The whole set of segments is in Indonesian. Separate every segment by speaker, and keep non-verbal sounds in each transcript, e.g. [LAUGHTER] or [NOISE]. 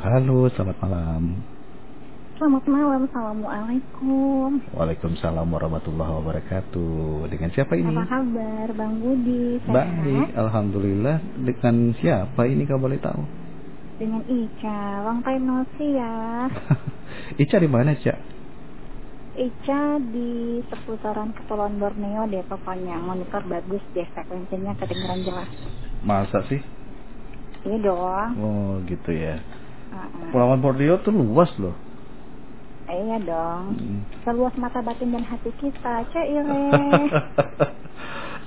Speaker 1: halo, selamat malam.
Speaker 2: Selamat malam, Assalamualaikum.
Speaker 1: Waalaikumsalam warahmatullahi wabarakatuh. Dengan siapa ini?
Speaker 2: Apa kabar, Bang Budi?
Speaker 1: Baik, alhamdulillah. Dengan siapa ini kalau boleh tahu?
Speaker 2: Dengan Ica, long time no see ya.
Speaker 1: Ica di mana, Cak?
Speaker 2: Ica di seputaran Kepulauan Borneo deh pokoknya. Monitor bagus deh, frekuensinya kedengeran jelas.
Speaker 1: Masa sih?
Speaker 2: Iya dong.
Speaker 1: Oh, gitu ya.
Speaker 2: Uh-uh.
Speaker 1: Pulauan Borneo tuh luas loh.
Speaker 2: Iya dong.
Speaker 1: Hmm.
Speaker 2: Seluas mata batin dan hati kita, Ceire.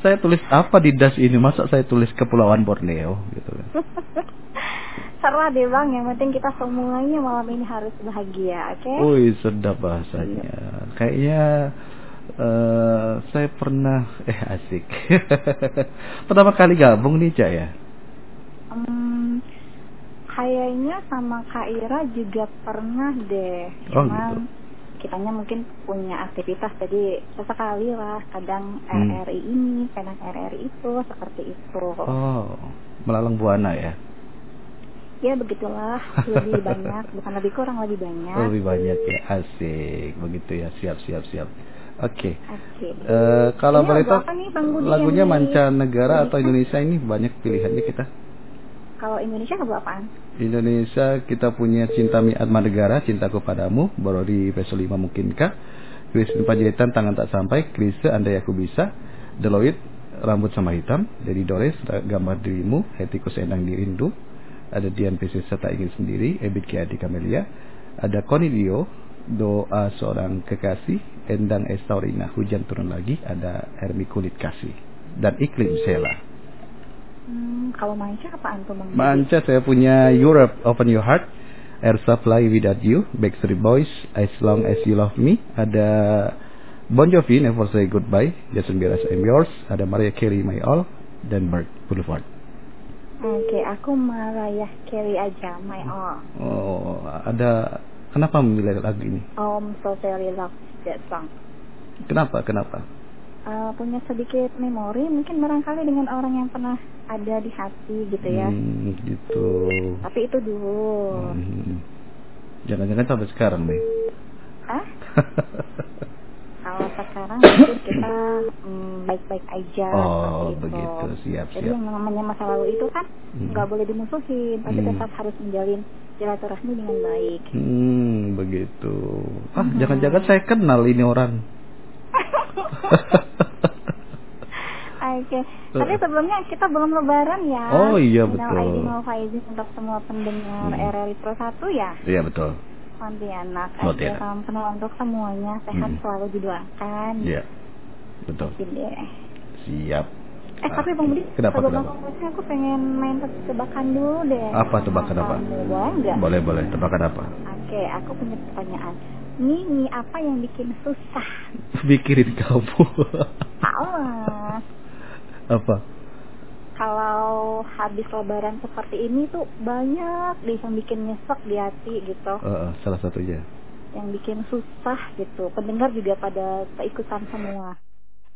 Speaker 1: saya tulis apa di das ini? Masa saya tulis Kepulauan Borneo gitu kan.
Speaker 2: Serah deh bang, yang penting kita semuanya malam ini harus bahagia, oke?
Speaker 1: Wih, sedap bahasanya. Kayaknya eh saya pernah eh asik. [LAUGHS] Pertama kali gabung nih, Cak ya.
Speaker 2: Hmm, kayaknya sama Kak Ira juga pernah deh.
Speaker 1: Oh, gitu.
Speaker 2: Cuman kitanya mungkin punya aktivitas jadi sesekali lah kadang
Speaker 1: Hmm.
Speaker 2: RRI ini, kadang RRI itu, seperti itu.
Speaker 1: Oh, melalang buana ya.
Speaker 2: Ya begitulah, lebih banyak, bukan lebih kurang lebih banyak.
Speaker 1: Lebih banyak ya, asik. Begitu ya, siap siap siap. Oke.
Speaker 2: Oke.
Speaker 1: Eh, kalau
Speaker 2: Ini
Speaker 1: boleh
Speaker 2: lagu
Speaker 1: tahu
Speaker 2: apa nih, Bang Budi,
Speaker 1: lagunya
Speaker 2: yang di-
Speaker 1: mancanegara atau
Speaker 2: di-
Speaker 1: Indonesia ini banyak pilihannya kita.
Speaker 2: Kalau Indonesia lagu apaan?
Speaker 1: Indonesia kita punya Cinta Mi Atma Negara, Cintaku Padamu, Borori Peso 5 Mungkinkah, Kristen Panjaitan Tangan Tak Sampai, Krisa Andai Aku Bisa, Deloitte Rambut Sama Hitam, Jadi Dores Gambar Dirimu, Hatiku Senang Dirindu, ada Dian Pisces Tak Ingin Sendiri, Ebit Kiadi Kamelia, ada Conidio, Doa Seorang Kekasih, Endang Estaurina, Hujan Turun Lagi, ada Hermi Kulit Kasih, dan Iklim Sela.
Speaker 2: Hmm, kalau manca apaan tuh Bang? Budi?
Speaker 1: Manca saya punya Europe Open Your Heart Ersa Fly Without You Backstreet Boys As Long As You Love Me Ada Bon Jovi Never Say Goodbye Jason Mraz I'm Yours Ada Maria Carey My All Dan Bird Boulevard
Speaker 2: Oke, aku Mariah Carey aja, my all.
Speaker 1: Oh ada Kenapa memilih lagu ini?
Speaker 2: Um, so very love that song.
Speaker 1: Kenapa? Kenapa?
Speaker 2: Eh, punya sedikit memori, mungkin barangkali dengan orang yang pernah ada di hati gitu ya. Oh.
Speaker 1: Hmm, gitu
Speaker 2: Tapi itu dulu.
Speaker 1: Hmm. Jangan-jangan sampai sekarang nih [LAUGHS]
Speaker 2: Ah, kalau sekarang mungkin kita mm, baik-baik aja.
Speaker 1: Oh,
Speaker 2: seperti itu.
Speaker 1: begitu. Siap,
Speaker 2: Jadi
Speaker 1: siap.
Speaker 2: yang namanya masa lalu itu kan
Speaker 1: Hmm.
Speaker 2: nggak boleh dimusuhin, tapi
Speaker 1: Hmm.
Speaker 2: tetap harus menjalin silaturahmi dengan baik.
Speaker 1: Hmm, begitu. Ah, jangan-jangan saya kenal ini orang.
Speaker 2: Oke, tapi sebelumnya kita belum lebaran ya.
Speaker 1: Eh. Oh, iya,
Speaker 2: Minal
Speaker 1: betul.
Speaker 2: aidin wal faizin untuk semua pendengar
Speaker 1: Hmm.
Speaker 2: RRI Pro 1 ya.
Speaker 1: Iya betul.
Speaker 2: Pontianak,
Speaker 1: Pontianak.
Speaker 2: ada salam kenal untuk semuanya. Sehat
Speaker 1: Hmm.
Speaker 2: selalu didoakan.
Speaker 1: Iya. Betul.
Speaker 2: Gitu deh.
Speaker 1: Siap. Ah,
Speaker 2: Eh, tapi Bang Budi,
Speaker 1: Kenapa,
Speaker 2: sebelum
Speaker 1: kenapa?
Speaker 2: aku pulang, aku pengen main tebak- tebakan dulu deh.
Speaker 1: Apa tebakan apa?
Speaker 2: Boleh nggak?
Speaker 1: Boleh, boleh. Tebakan apa?
Speaker 2: Oke, aku punya pertanyaan. Ini, ini apa yang bikin susah?
Speaker 1: Pikirin kamu.
Speaker 2: Allah.
Speaker 1: [LAUGHS] apa?
Speaker 2: kalau habis lebaran seperti ini tuh banyak deh yang bikin nyesek di hati gitu
Speaker 1: Eh, salah satunya.
Speaker 2: yang bikin susah gitu pendengar juga pada keikutan semua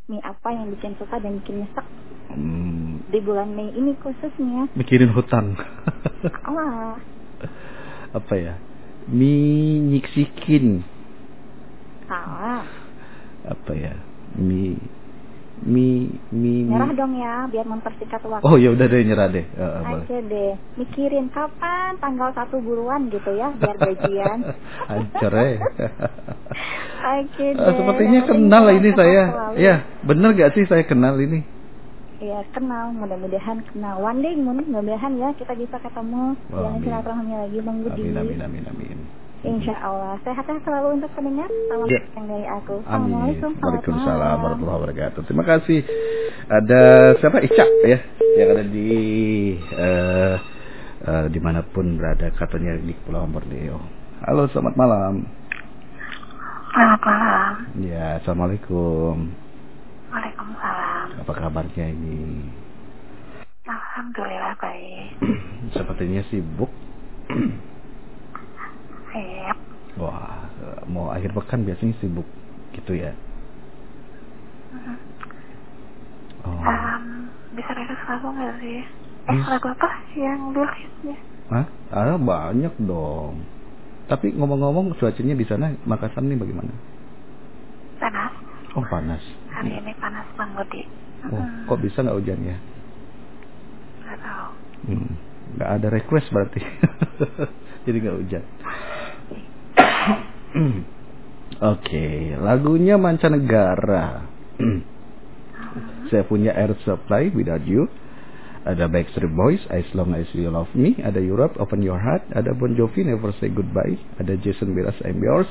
Speaker 2: nih apa yang bikin susah dan bikin nyesek
Speaker 1: Hmm,
Speaker 2: di bulan Mei ini khususnya
Speaker 1: mikirin hutang.
Speaker 2: Allah
Speaker 1: [LAUGHS] apa ya? Mi nyiksikin.
Speaker 2: salah
Speaker 1: Apa ya? Mi mi mi. mi.
Speaker 2: nyerah dong ya biar mempersingkat waktu
Speaker 1: Hmm. Oh, ya udah deh nyerah deh. Eh, eh, boleh. [LAUGHS]
Speaker 2: aja deh mikirin kapan tanggal satu buruan gitu ya biar
Speaker 1: [LAUGHS]
Speaker 2: gajian
Speaker 1: Hancur ya. [LAUGHS]
Speaker 2: oke
Speaker 1: Eh,
Speaker 2: deh
Speaker 1: sepertinya
Speaker 2: Yang penting
Speaker 1: kenal lah ini
Speaker 2: sehat
Speaker 1: saya.
Speaker 2: selalu.
Speaker 1: Ya, bener gak sih saya kenal ini?
Speaker 2: Ya kenal, mudah-mudahan kenal. One day mudah-mudahan ya kita bisa ketemu
Speaker 1: Wah,
Speaker 2: jalan
Speaker 1: amin.
Speaker 2: silaturahmi lagi Bang Budi.
Speaker 1: Amin, amin, amin, amin.
Speaker 2: Insya Allah. Sehat-sehat selalu untuk pendengar. Salam
Speaker 1: Ya.
Speaker 2: yang dari aku.
Speaker 1: Amin.
Speaker 2: Assalamualaikum. selamat
Speaker 1: Waalaikumsalam
Speaker 2: malam.
Speaker 1: warahmatullahi wabarakatuh. Terima kasih. Ada siapa Ica ya yang ada di eh eh, dimanapun berada katanya di Pulau Borneo. Halo, selamat malam.
Speaker 3: Selamat malam.
Speaker 1: Ya, assalamualaikum.
Speaker 3: Waalaikumsalam.
Speaker 1: Apa kabarnya ini?
Speaker 3: Alhamdulillah baik.
Speaker 1: [CLEARS THROAT] Sepertinya sibuk.
Speaker 3: Siap.
Speaker 1: Wah, eh, mau akhir pekan biasanya sibuk gitu ya. Oh,
Speaker 2: Ah,
Speaker 3: Um, bisa rekas lagu nggak sih? Eh, lagu apa yang dulu hitsnya?
Speaker 1: Hah? Ah, banyak dong. Tapi ngomong-ngomong cuacanya di sana Makassar nih bagaimana?
Speaker 3: Panas.
Speaker 1: Oh panas.
Speaker 3: Hari ini panas banget di.
Speaker 1: Oh, kok bisa nggak hujan ya?
Speaker 3: Gak tahu.
Speaker 1: Hmm, Nggak ada request berarti. [LAUGHS] Jadi nggak hujan. [COUGHS] Oke, lagunya [COUGHS] mancanegara. Saya punya Air Supply Without You. Ada Backstreet Boys, As Long As You Love Me. Ada Europe, Open Your Heart. Ada Bon Jovi, Never Say Goodbye. Ada Jason Mraz, I'm Yours.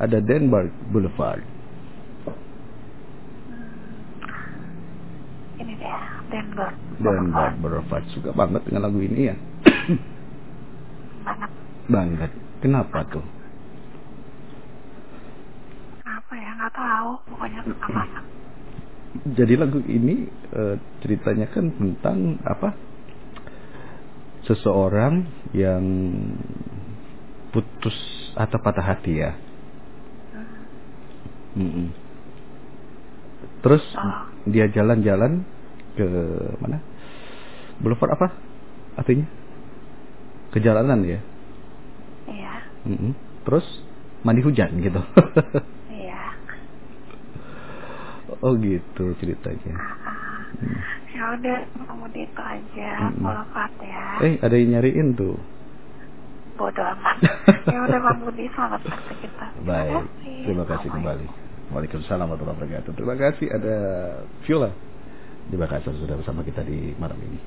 Speaker 1: Ada Denmark Boulevard.
Speaker 3: Ini dia. Denver.
Speaker 1: Denmark Boulevard. Suka banget dengan lagu ini ya. [COUGHS]
Speaker 3: Banget.
Speaker 1: banget. Kenapa tuh?
Speaker 3: Apa ya? Gak tahu. Pokoknya suka banget.
Speaker 1: jadi lagu ini eh, ceritanya kan tentang apa seseorang yang putus atau patah hati ya Mm-mm. terus
Speaker 3: Ah.
Speaker 1: dia jalan-jalan ke mana boulevard apa artinya ke jalanan ya
Speaker 3: Iya.
Speaker 1: Mm-mm. terus mandi hujan gitu [LAUGHS]
Speaker 3: Iya.
Speaker 1: oh gitu ceritanya
Speaker 3: Ya udah. Kamu di itu aja.
Speaker 1: Mm-mm.
Speaker 3: Wafat ya.
Speaker 1: eh ada yang nyariin tuh
Speaker 3: Bodoh amat. ya udah Bang Budi. Selamat pagi kita.
Speaker 1: Baik, terima kasih kembali. Waalaikumsalam warahmatullahi wabarakatuh. Terima kasih ada Viola di Makassar sudah bersama kita di malam ini.